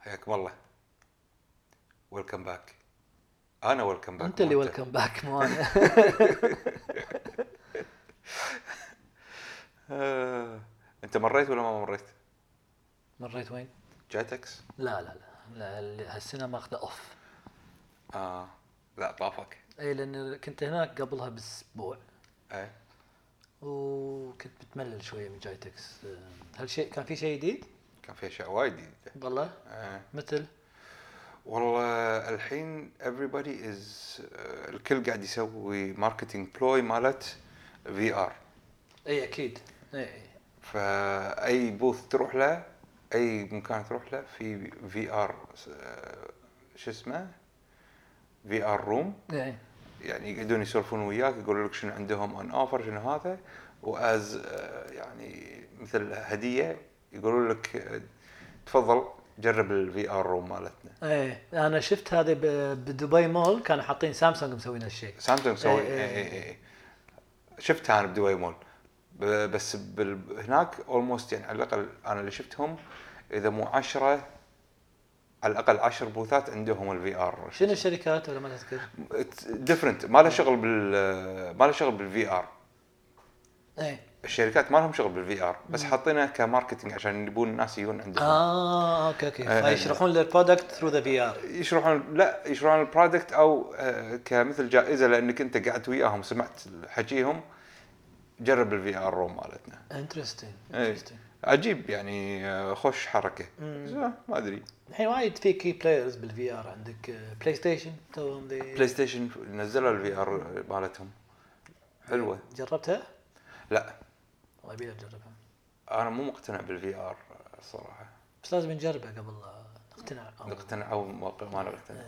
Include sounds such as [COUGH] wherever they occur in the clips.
حياكم الله ويلكم باك انا ويلكم باك انت اللي ويلكم [LAUGHS] باك مو انا انت آه، مريت ولا ما مريت؟ مريت وين؟ جاتكس؟ لا لا لا, لا ال- هالسنه ماخذه اوف اه لا طافك اي لان كنت هناك قبلها باسبوع اي وكنت بتملل شويه من جايتكس أم، هل شيء كان في شيء جديد؟ كان في اشياء وايد جديده والله آه. مثل والله الحين everybody is آه، الكل قاعد يسوي ماركتينج بلوي مالت في ار اي اكيد اي اي فاي بوث تروح له اي مكان تروح له في في ار شو اسمه في ار روم اي يعني يقعدون يسولفون وياك يقولوا لك شنو عندهم اون اوفر شنو هذا واز يعني مثل هديه يقولوا لك آه، تفضل جرب الفي ار روم مالتنا ايه انا شفت هذه ب- بدبي مول كانوا حاطين سامسونج مسوين هالشيء سامسونج سوي إيه، اي إيه، اي اي شفتها انا بدبي مول ب- بس بال- هناك اولموست يعني على الاقل انا اللي شفتهم اذا مو 10 على الاقل 10 بوثات عندهم الفي ار شنو الشركات ولا ما تذكر؟ ديفرنت ما له شغل بال آه، ما له شغل بالفي ار ايه الشركات ما لهم شغل بالفي ار بس حاطينه كماركتنج عشان يبون الناس يجون عندهم اه اوكي اوكي إيه، إيه. فيشرحون البرودكت ثرو ذا في ار يشرحون لا يشرحون البرودكت او آه، كمثل جائزه لانك انت قعدت وياهم سمعت حكيهم جرب الفي ار روم مالتنا انترستنج إيه. انترستنج عجيب يعني آه، خوش حركه مم. زين، ما ادري الحين وايد في كي بلايرز بالفي ار عندك آه، بلاي ستيشن توهم ذي- بلاي ستيشن نزلوا الفي ار مالتهم حلوه جربتها؟ لا والله يبيلي اجربها انا مو مقتنع بالفي ار صراحه بس لازم نجربها قبل لا نقتنع أو- آه. مقتنع او ما ما أنا مقتنع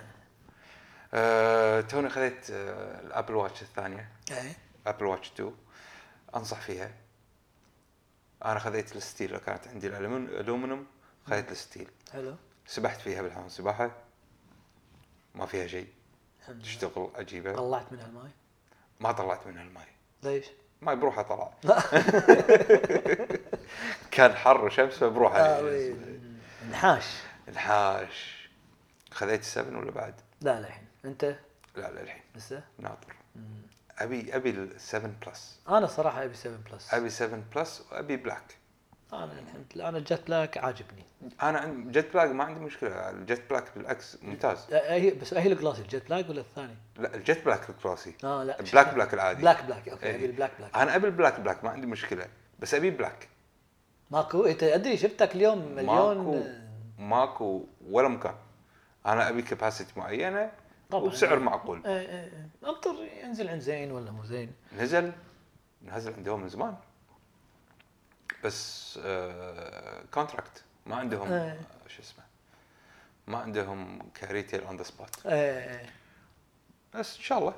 أه توني خذيت آه، الابل واتش الثانيه ايه ابل واتش 2 انصح فيها انا خذيت الستيل لو كانت عندي الألمن- الالومنيوم خذيت الستيل حلو سبحت فيها بالحمام سباحه ما فيها شيء الحمد لله. تشتغل عجيبه طلعت منها الماي ما طلعت منها الماي [LAUGHS] ليش؟ ماي بروحه طلع كان حر وشمس فبروحه آه، وي- نحاش الحاش خذيت السبن ولا بعد؟ لا لا الحين انت لا لا الحين لسه ناطر ابي ابي السبن بلس انا صراحه ابي 7 بلس ابي 7 بلس وابي بلاك انا الحمد لله انا الجت بلاك عاجبني انا عند جت بلاك ما عندي مشكله الجت بلاك بالعكس ممتاز آه، هي بس هي الجلاس الجت بلاك ولا الثاني؟ لا الجت بلاك الكلاسي اه لا بلاك بلاك العادي بلاك بلاك اوكي إيه. ابي البلاك بلاك انا ابي البلاك بلاك ما عندي مشكله بس ابي بلاك ماكو انت ادري شفتك اليوم مليون آه، ماكو ماكو ولا مكان انا ابي كباسيتي معينه طبعاً. وبسعر معقول آه، آه، آه. انطر ينزل عند زين ولا مو زين نزل نزل عندهم من زمان بس آه كونتراكت ما عندهم إيه. آه، شو اسمه ما عندهم كريتيل اون ذا سبوت آه، آه. بس ان شاء الله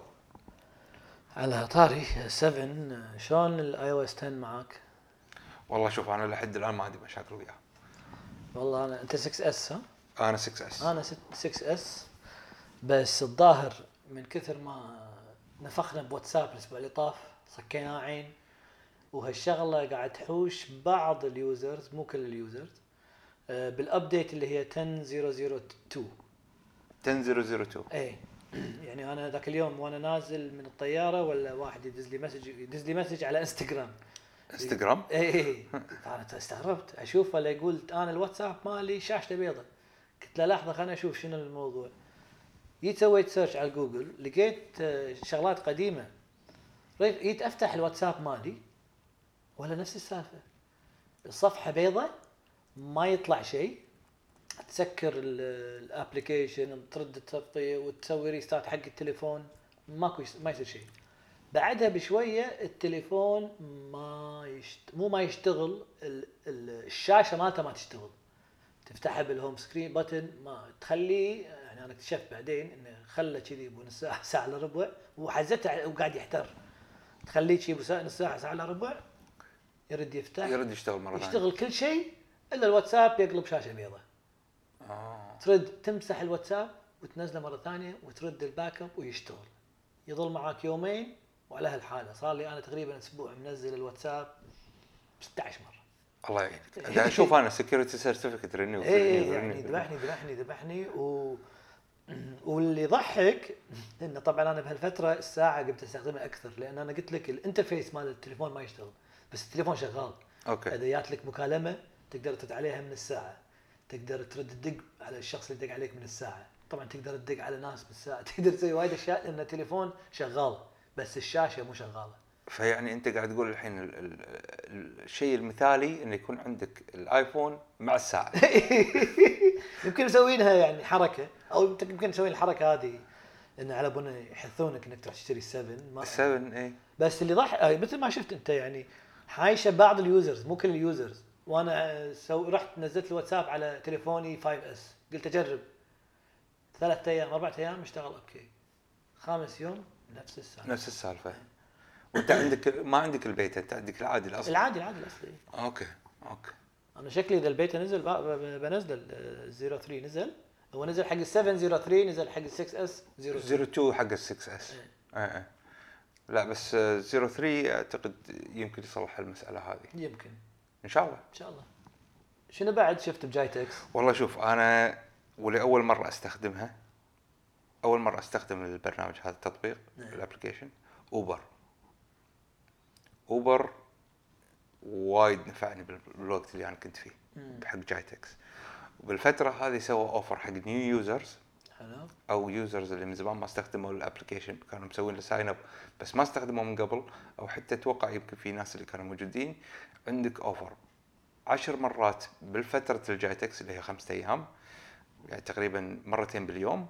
على طاري 7 شلون الاي او اس 10 معاك؟ والله شوف انا لحد الان ما عندي مشاكل وياه والله انا انت 6 اس ها؟ انا 6 اس انا 6 اس بس الظاهر من كثر ما نفخنا بواتساب الاسبوع اللي طاف صكينا عين وهالشغله قاعد تحوش بعض اليوزرز مو كل اليوزرز آه، بالابديت اللي هي 10002 10002 اي يعني انا ذاك اليوم وانا نازل من الطياره ولا واحد يدز لي مسج يدز لي مسج على إيه، انستغرام انستغرام اي اي فانا استغربت اشوف ولا يقول انا الواتساب مالي شاشته بيضة قلت له لحظه خليني اشوف شنو الموضوع جيت سويت سيرش على جوجل لقيت آه، شغلات قديمه ريت- جيت افتح الواتساب مالي ولا نفس السالفه الصفحه بيضة ما يطلع شيء تسكر الابلكيشن ترد التغطيه وتسوي ريستارت حق التليفون ماكو يس- ما يصير شيء بعدها بشويه التليفون ما يشت... مو ما يشتغل ال... ال... الشاشه مالته ما تشتغل تفتحها بالهوم سكرين بتن ما تخليه يعني انا اكتشفت بعدين انه خلى كذي بنص ساعه ساعه الا ربع وحزته على- وقاعد يحتر تخليه كذي بس- نص ساعه ساعه الا ربع يرد يفتح يرد يشتغل مره ثانيه يشتغل كل شيء الا الواتساب يقلب شاشه بيضاء اه ترد تمسح الواتساب وتنزله مره ثانيه وترد الباك اب ويشتغل يظل معك يومين وعلى هالحاله صار لي انا تقريبا اسبوع منزل الواتساب 16 مره [LAUGHS] الله يعين قاعد اشوف انا سكيورتي سيرتيفيكت رينيو اي يعني ذبحني ذبحني ذبحني و [CLEARS THROAT] واللي يضحك انه طبعا انا بهالفتره الساعه قمت استخدمها اكثر لان انا قلت لك الانترفيس مال التليفون ما يشتغل بس التليفون شغال اوكي اذا جات لك مكالمه تقدر ترد عليها من الساعه تقدر ترد تدق على الشخص اللي دق عليك من الساعه طبعا تقدر تدق على ناس من الساعه [LAUGHS] تقدر تسوي وايد اشياء لان التليفون شغال بس الشاشه مو شغاله فيعني انت قاعد تقول الحين ال- ال- ال- الشيء المثالي انه يكون عندك الايفون مع [LAUGHS] [LAUGHS] الساعه [LAUGHS] يمكن مسوينها يعني حركه او يمكن مسوين الحركه هذه ان على بنا يحثونك انك تروح تشتري 7 ما 7 اي بس اللي ضح آه، مثل ما شفت انت يعني حايشه بعض اليوزرز مو كل اليوزرز وانا آه، سو... رحت نزلت الواتساب على تليفوني 5 اس قلت اجرب ثلاث ايام اربع ايام اشتغل اوكي خامس يوم نفس السالفه نفس السالفه وانت عندك ما عندك البيت انت عندك العادي الاصلي العادي العادي الاصلي اوكي اوكي انا شكلي اذا البيتا نزل ب- ب- بنزله ال 03 نزل هو نزل حق ال 7 03 نزل حق ال 6 اس 03 02 حق ال 6 اس إيه. اي لا بس آه، 03 اعتقد يمكن يصلح المساله هذه يمكن ان شاء الله ان شا الله شنو بعد شفت بجايتكس؟ والله شوف انا ولاول مره استخدمها اول مره استخدم البرنامج هذا التطبيق نعم. الابلكيشن اوبر اوبر وايد نفعني بال- بالوقت اللي انا كنت فيه مم. بحق جايتكس وبالفتره هذه سوى اوفر حق نيو يوزرز حلو او يوزرز اللي من زمان ما استخدموا الابلكيشن كانوا مسوين له ساين اب بس ما استخدموه من قبل او حتى اتوقع يمكن في ناس اللي كانوا موجودين عندك اوفر عشر مرات بالفترة الجايتكس اللي هي خمسة أيام يعني تقريبا مرتين باليوم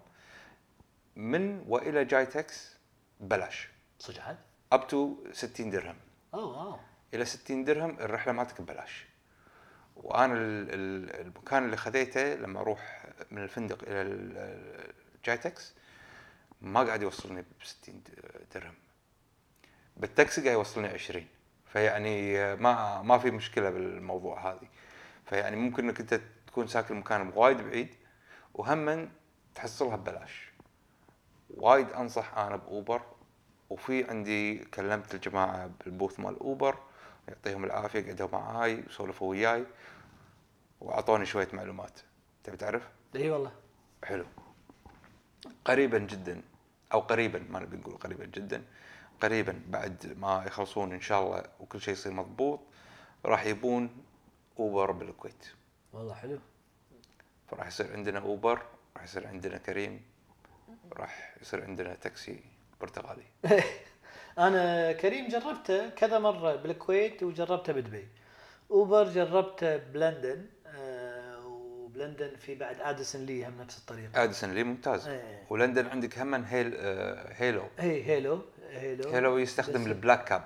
من وإلى جايتكس بلاش صدق عاد؟ أب تو 60 درهم اوه واو إلى 60 درهم الرحلة مالتك ببلاش وأنا ال- ال- المكان اللي خذيته لما أروح من الفندق إلى ال- ال- الجايتكس ما قاعد يوصلني ب 60 د- درهم بالتاكسي قاعد يوصلني 20 فيعني ما ما في مشكله بالموضوع هذه فيعني ممكن انك انت تكون ساكن مكان وايد بعيد وهم تحصلها ببلاش وايد انصح انا باوبر وفي عندي كلمت الجماعه بالبوث مال اوبر يعطيهم العافيه قعدوا معاي وسولفوا وياي واعطوني شويه معلومات تبي تعرف؟ اي إيه والله حلو قريبا جدا او قريبا ما نبي نقول قريبا جدا قريبا بعد ما يخلصون ان شاء الله وكل شيء يصير مضبوط راح يبون اوبر بالكويت والله حلو فراح يصير عندنا اوبر راح يصير عندنا كريم راح يصير عندنا تاكسي برتغالي [LAUGHS] انا كريم جربته كذا مره بالكويت وجربته بدبي اوبر جربته بلندن آه وبلندن في بعد اديسون لي هم نفس الطريقه اديسون لي ممتاز إيه. ولندن عندك هم هيل آه، هيلو هي إيه، هيلو هيلو آه، هيلو يستخدم بس- البلاك كاب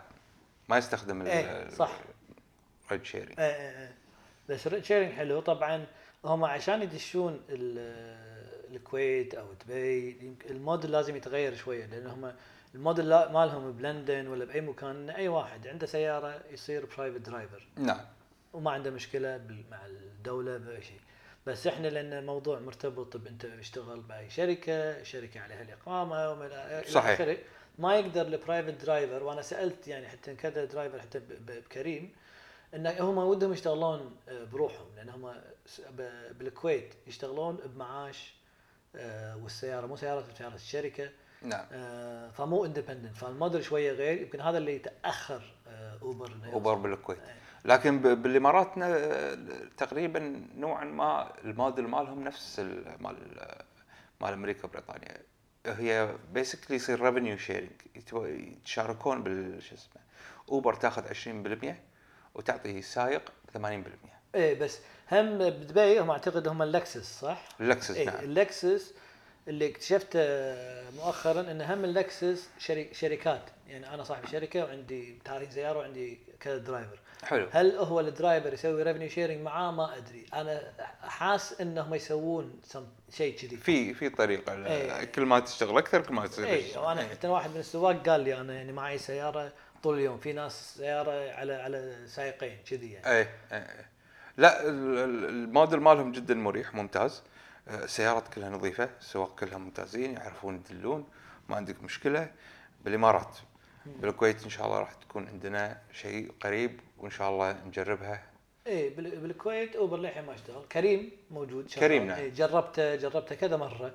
ما يستخدم إيه، صح. ريد شيري إيه إيه إيه. بس ريد شيرنج حلو طبعا هم عشان يدشون ال- الكويت او دبي يمكن الموديل لازم يتغير شويه لان هم الموديل لا- مالهم بلندن ولا باي مكان إن اي واحد عنده سياره يصير برايفت درايفر نعم وما عنده مشكله بال- مع الدوله باي شيء بس احنا لان الموضوع مرتبط بانت تشتغل باي شركه، شركه عليها الاقامه وما الى إلى صحيح. آخره. ما يقدر البرايفت درايفر وانا سالت يعني حتى كذا درايفر حتى ب- ب- بكريم ان هم ودهم يشتغلون آه، بروحهم لان هم س- ب- بالكويت يشتغلون بمعاش آه، والسياره مو سيارتهم سياره الشركه نعم آه، فمو اندبندنت فالموديل شويه غير يمكن هذا اللي تاخر آه، اوبر إنه اوبر بالكويت إيه. لكن ب- بالامارات ن- تقريبا نوعا ما الموديل مالهم نفس ال- مال مال امريكا وبريطانيا هي بيسكلي يصير ريفينيو شيرنج يتشاركون بال شو اسمه اوبر تاخذ 20% وتعطي السائق 80% ايه بس هم بدبي هم اعتقد هم اللكسس صح؟ لكسس ايه نعم اللكسس اللي اكتشفته مؤخرا ان هم اللكسس شري شركات يعني انا صاحب شركه وعندي 30 سياره وعندي كذا درايفر حلو هل هو الدرايفر يسوي ريفنيو شيرنج معاه ما ادري انا حاس انهم يسوون some- شيء كذي في في طريقه ل- إيه. كل ما تشتغل اكثر كل ما تصير اي وانا إيه، حتى واحد من السواق قال لي انا يعني معي سياره طول اليوم في ناس سياره على على سايقين كذي يعني ايه إيه، ايه لا ال- ال- الموديل مالهم جدا مريح ممتاز آه، السيارات كلها نظيفه السواق كلها ممتازين يعرفون يدلون ما عندك مشكله بالامارات بالكويت ان شاء الله راح تكون عندنا شيء قريب وان شاء الله نجربها اي إيه، بال- بالكويت اوبر للحين ما اشتغل كريم موجود شغال. كريم، نعم. إيه جربته جربته كذا مره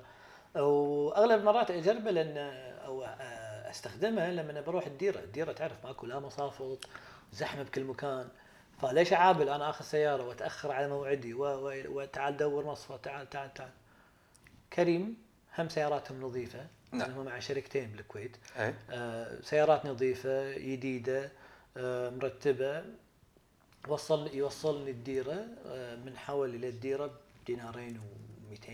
واغلب المرات اجربه لان او آه، استخدمه لما بروح الديره، الديره تعرف ماكو لا مصافط زحمه بكل مكان فليش اعابل انا اخذ سياره واتاخر على موعدي و... و... وتعال دور مصفى تعال تعال تعال كريم هم سياراتهم نظيفه نعم. هم مع شركتين بالكويت اي آه، سيارات نظيفة جديدة آه، مرتبة وصل يوصلني الديرة آه، من حولي للديرة بدينارين و200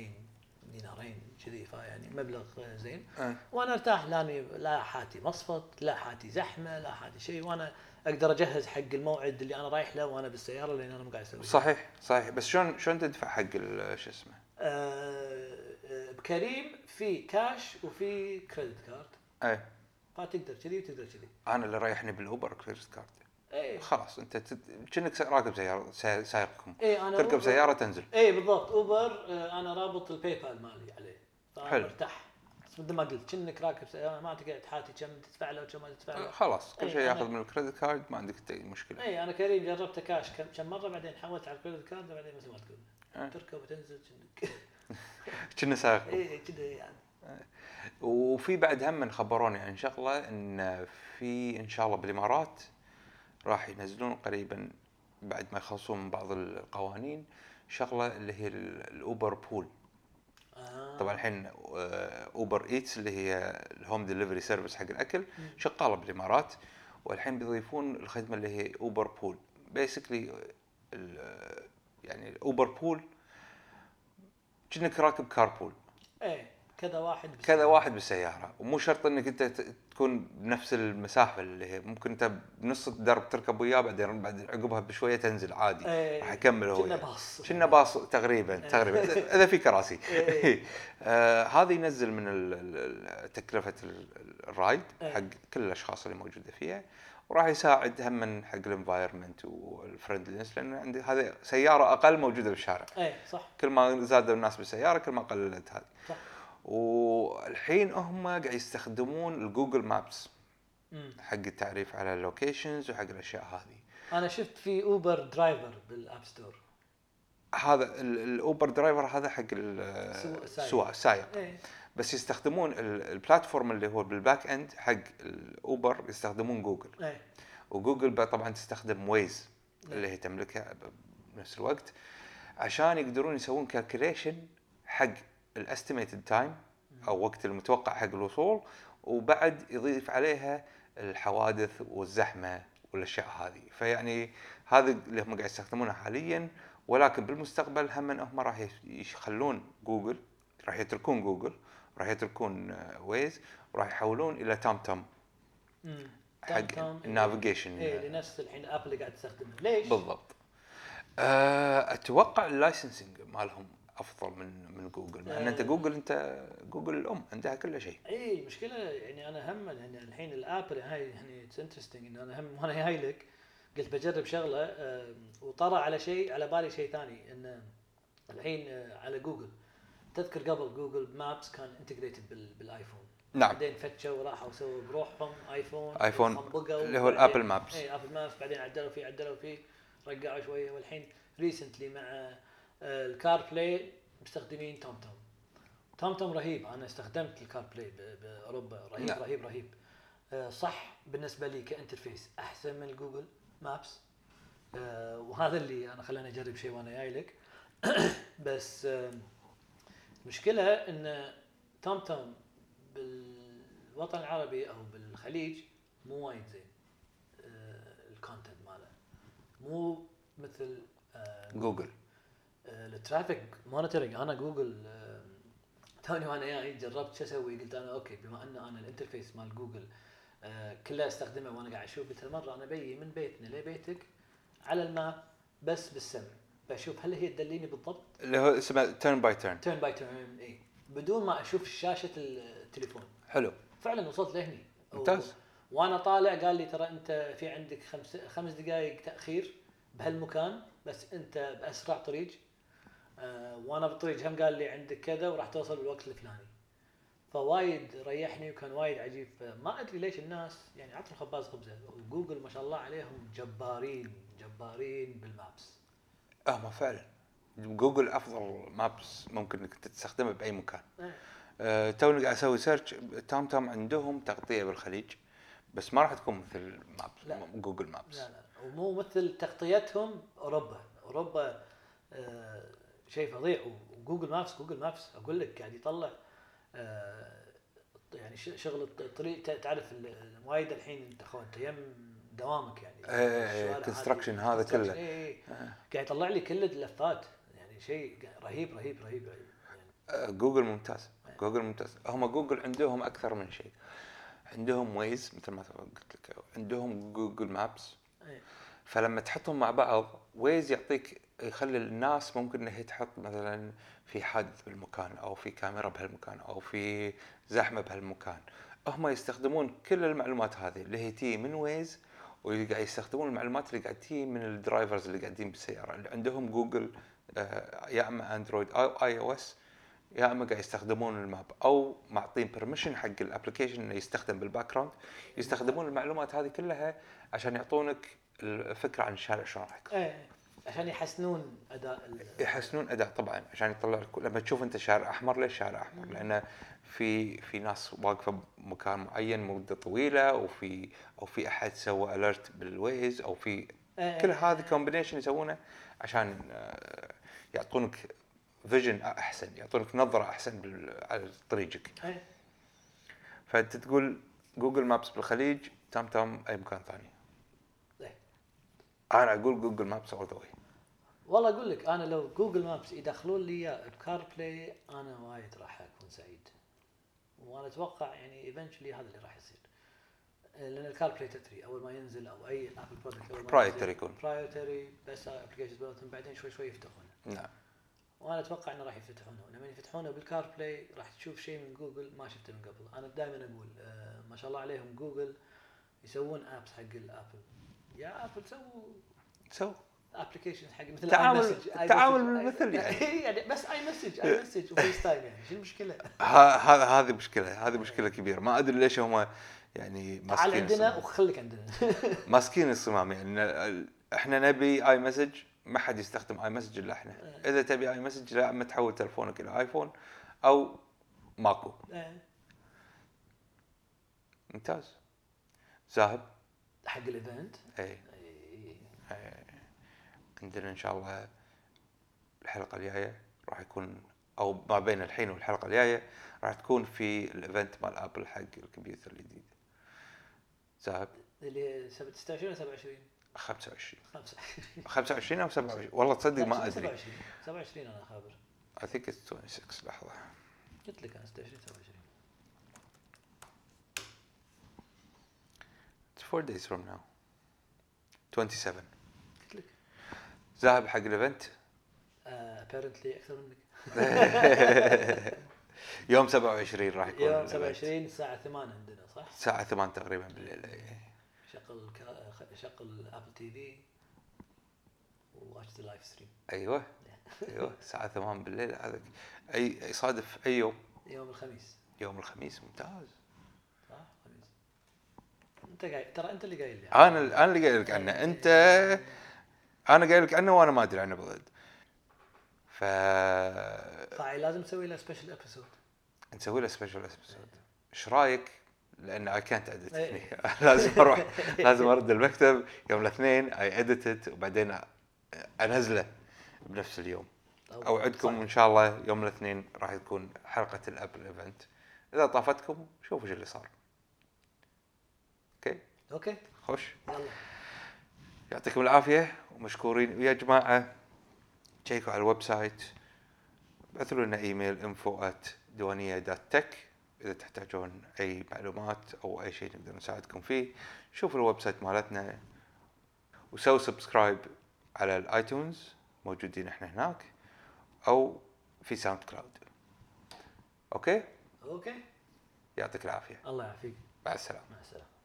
دينارين كذي فيعني مبلغ آه، زين أي. وانا ارتاح لاني لا حاتي مصفط لا حاتي زحمه لا حاتي شيء وانا اقدر اجهز حق الموعد اللي انا رايح له وانا بالسياره لان انا مو قاعد اسوي شيء. صحيح صحيح بس شلون شلون تدفع حق ال- شو اسمه؟ آه، آه، بكريم في كاش وفي كريدت كارد اي فتقدر كذي وتقدر كذي انا إيه، اللي ريحني بالاوبر كريدت كارد اي خلاص انت تت- كأنك راكب سياره سا- سايقكم اي انا تركب أوبر- سياره تنزل اي إيه، بالضبط اوبر آه، انا رابط الباي بال مالي عليه فأنا حلو. مرتاح بس مثل ما قلت كأنك راكب سيارة ما تقعد حاتي كم تدفع له وكم ما تدفع له أه، خلاص كل إي، شيء أنا- ياخذ من الكريدت كارد ما عندك أي مشكله اي انا كريم جربته كاش كم كم مره بعدين حولت على الكريدت كارد بعدين مثل ما أي. تقول تركب وتنزل كأنك [LAUGHS] كنا سايقكم اي كذا يعني وفي بعد هم خبروني عن شغله ان في ان شاء الله بالامارات راح ينزلون قريبا بعد ما يخلصون من بعض القوانين شغله اللي هي ال- الاوبر بول آه. طبعا الحين آه، اوبر ايتس اللي هي الهوم ديليفري سيرفيس حق الاكل شغاله بالامارات والحين بيضيفون الخدمه اللي هي اوبر بول بيسكلي يعني اوبر بول كأنك راكب كاربول اي آه. إيه، كذا واحد بس. يعني. كذا واحد بالسياره ومو شرط انك انت ت- تكون بنفس المسافه اللي هي ممكن انت بنص الدرب تركب وياه بعدين بعد عقبها بشويه تنزل عادي إيه. راح يكمل هو كنا يعني. باص كنا باص تقريبا تقريبا إذا- اذا في كراسي إيه. [LAUGHS] آه، هذا ينزل من ال- ال- ال- تكلفه ال- ال- الرايد إيه. حق كل الاشخاص اللي موجوده فيها وراح يساعد هم من حق الانفايرمنت والفرندلنس لان عندي هذه سياره اقل موجوده بالشارع اي إيه، صح كل ما زادوا الناس بالسياره كل ما قللت هذه صح والحين هم قاعد يستخدمون الجوجل مابس مم. حق التعريف على اللوكيشنز وحق الاشياء هذه انا شفت في اوبر درايفر بالاب ستور هذا ال- الاوبر درايفر هذا حق ال- سو- سايق. السواق السايق اي بس يستخدمون ال- البلاتفورم اللي هو بالباك اند حق الاوبر يستخدمون جوجل اي وجوجل بقى طبعا تستخدم ويز نعم. اللي هي تملكها ب- بنفس الوقت عشان يقدرون يسوون كالكوليشن حق الاستيميتد تايم او وقت المتوقع حق الوصول وبعد يضيف عليها الحوادث والزحمه والاشياء هذه فيعني هذا اللي هم قاعد يستخدمونه حاليا ولكن بالمستقبل هم إن هم راح يش- يخلون جوجل راح يتركون جوجل راح يتركون آه، ويز وراح يحولون الى تام تام مم. تام حق تام. النافيجيشن اي لنفس إيه، الحين ابل قاعد تستخدمه ليش؟ نعم. بالضبط آه، اتوقع اللايسنسنج مالهم افضل من من جوجل مع ان انت آه. جوجل انت جوجل الام عندها كل شيء اي المشكله يعني انا هم يعني الحين الابل هاي يعني اتس انترستنج ان انا هم [LAUGHS] وانا جاي لك قلت بجرب شغله آم، وطرى على شيء على بالي شيء ثاني ان الحين آه، على جوجل تذكر قبل جوجل مابس كان انتجريتد بالايفون نعم بعدين فتشوا راحوا سووا بروحهم ايفون آيفون خنبقوا، اللي هو بعدين- الآبل مابس. اي ابل مابس إيه، بعدين عدلوا فيه عدلوا فيه رقعوا شويه والحين ريسنتلي مع آه، الكار بلاي مستخدمين توم توم توم توم رهيب انا استخدمت الكار بلاي ب- باوروبا رهيب نعم. رهيب رهيب آه، صح بالنسبه لي كانترفيس احسن من جوجل مابس آه، وهذا اللي انا خلاني اجرب شيء وانا جاي لك [COUGHS] بس آم، المشكله ان توم توم بالوطن العربي او بالخليج مو وايد زين آه، الكونتنت ماله مو مثل آه، جوجل آه، الترافيك مونيتورنج انا جوجل آه، توني وانا جاي جربت شو اسوي قلت انا اوكي بما ان انا الانترفيس مال جوجل آه، كله استخدمه وانا قاعد اشوف قلت هالمره انا بيي من بيتنا لبيتك على الماب بس بالسمع بشوف هل هي تدليني بالضبط اللي هو اسمه تيرن باي تيرن تيرن باي تيرن اي إيه. بدون ما اشوف شاشه التليفون حلو فعلا وصلت لهني أو- ممتاز. وانا طالع قال لي ترى انت في عندك خمس خمس دقائق تاخير بهالمكان بس انت باسرع طريق آه وانا بالطريق هم قال لي عندك كذا وراح توصل بالوقت الفلاني فوايد ريحني وكان وايد عجيب ما ادري ليش الناس يعني عطوا الخباز خبزه وجوجل ما شاء الله عليهم جبارين جبارين بالمابس هم فعلا آه، جوجل افضل مابس ممكن انك تستخدمه باي مكان إيه. أه توني قاعد اسوي سيرش تام تام عندهم تغطيه بالخليج بس ما راح تكون مثل لا. مابس جوجل مابس لا لا ومو مثل تغطيتهم اوروبا اوروبا آه شيء فظيع وجوجل مابس جوجل مابس اقول لك قاعد يطلع آه يعني ش- شغل الط- الطريق ت- تعرف ال- ال- وايد الحين انت خو- انت يم دوامك يعني إيه، الشوارع هذه- construction هذا كله. construction، إيه، إيه. قاعد يطلع لي كل اللفات يعني شيء رهيب رهيب رهيب رهيب يعني آه، جوجل ممتاز جوجل ممتاز هم جوجل عندهم اكثر من شيء عندهم ويز مثل ما قلت لك عندهم جوجل مابس إيه. فلما تحطهم مع بعض ويز يعطيك يخلي الناس ممكن انها هي تحط مثلا في حادث بالمكان او في كاميرا بهالمكان او في زحمه بهالمكان هم يستخدمون كل المعلومات هذه اللي هي تي من ويز وقاعد يستخدمون المعلومات اللي قاعد تي من الدرايفرز اللي قاعدين بالسياره اللي عندهم جوجل آه، يا اما اندرويد او اي او اس يا اما قاعد يستخدمون الماب او معطين برميشن حق الابلكيشن انه يستخدم بالباك جراوند يستخدمون المعلومات هذه كلها عشان يعطونك الفكره عن الشارع شلون راح يكون إيه. عشان يحسنون اداء ال- يحسنون اداء طبعا عشان يطلع لك لما تشوف انت شارع احمر ليش شارع احمر؟ لان في في ناس واقفه بمكان معين مده طويله وفي او في احد سوى اليرت بالويز او في إيه. كل هذا كومبينيشن يسوونه عشان آه، يعطونك فيجن احسن يعطونك نظره احسن بال- على طريقك إيه. فانت تقول جوجل مابس بالخليج تام تام اي مكان ثاني إيه. انا اقول جوجل مابس اول ذا واي والله اقول لك انا لو جوجل مابس يدخلون لي اياه بكار بلاي انا وايد راح اكون سعيد وانا اتوقع يعني ايفنشلي هذا اللي راح يصير لان الكار بلاي تدري اول ما ينزل او اي ابل برودكت اول ما Proprietary يكون. برايتري بس ابلكيشنز بيناتهم بعدين شوي شوي يفتحونه نعم وانا اتوقع انه راح يفتحونه لما يفتحونه بالكار بلاي راح تشوف شيء من جوجل ما شفته من قبل انا دائما اقول آه ما شاء الله عليهم جوجل يسوون ابس حق الابل يا ابل سووا سو ابلكيشن حق مثل تعاول- آي مسج، آي تعاول مسج، آي- بالمثل [LAUGHS] يعني. إي يعني بس اي مسج اي مسج وفيس تايم يعني شو المشكله؟ ه- هذا هذه مشكله هذه مشكله كبيره ما ادري ليش هم يعني تعال ماسكين عندنا الصمام. وخليك عندنا [LAUGHS] ماسكين الصمام يعني ال- احنا نبي اي مسج ما حد يستخدم اي مسج الا احنا إيه. اذا تبي اي مسج لا اما تحول تلفونك الى ايفون او ماكو إيه، ممتاز زاهب حق إيه، الايفنت اي إي، إيه، عندنا ان شاء الله الحلقه الجايه راح يكون او ما بين الحين والحلقه الجايه راح تكون في الايفنت مال ابل حق الكمبيوتر الجديد زاهب اللي 26 ولا 27 25 خمسة 25 او 27 والله تصدق [LAUGHS] ما ادري 27 27 انا خابر I think it's 26 لحظه قلت لك انا 26 27 It's 4 days from now 27 قلت لك ذاهب حق الايفنت ابيرنتلي اكثر منك [LAUGHS] يوم 27 راح يكون يوم الإيفنت. 27 الساعه 8 عندنا صح؟ الساعه 8 تقريبا بالليل إي. شغل الكا- شغل ابل تي في واتش ذا لايف ستريم ايوه ايوه الساعه 8 بالليل هذا اي يصادف اي يوم يوم الخميس يوم الخميس ممتاز صح خميس انت قايل ترى انت اللي قايل لي انا انا اللي قايل لك عنه انت انا قايل لك عنه وانا ما ادري عنه بالضبط ف فعي لازم تسوي له سبيشل ابيسود نسوي له سبيشل ابيسود ايش رايك؟ لان اي كانت اديت إيه. هني [LAUGHS] [LAUGHS] لازم اروح [LAUGHS] لازم ارد المكتب يوم الاثنين اي اديتد وبعدين انزله بنفس اليوم طيب، اوعدكم ان شاء الله يوم الاثنين راح تكون حلقه الابل ايفنت اذا طافتكم شوفوا شو اللي صار اوكي اوكي خوش يلا يعطيكم العافيه ومشكورين ويا جماعه تشيكوا على الويب سايت ابعثوا لنا ايميل انفو دوانيه دات تك اذا تحتاجون اي معلومات او اي شيء نقدر نساعدكم فيه شوفوا الويب سايت مالتنا وسووا سبسكرايب على الايتونز موجودين احنا هناك او في ساوند كلاود اوكي اوكي يعطيك العافيه الله يعافيك مع السلامه مع السلامه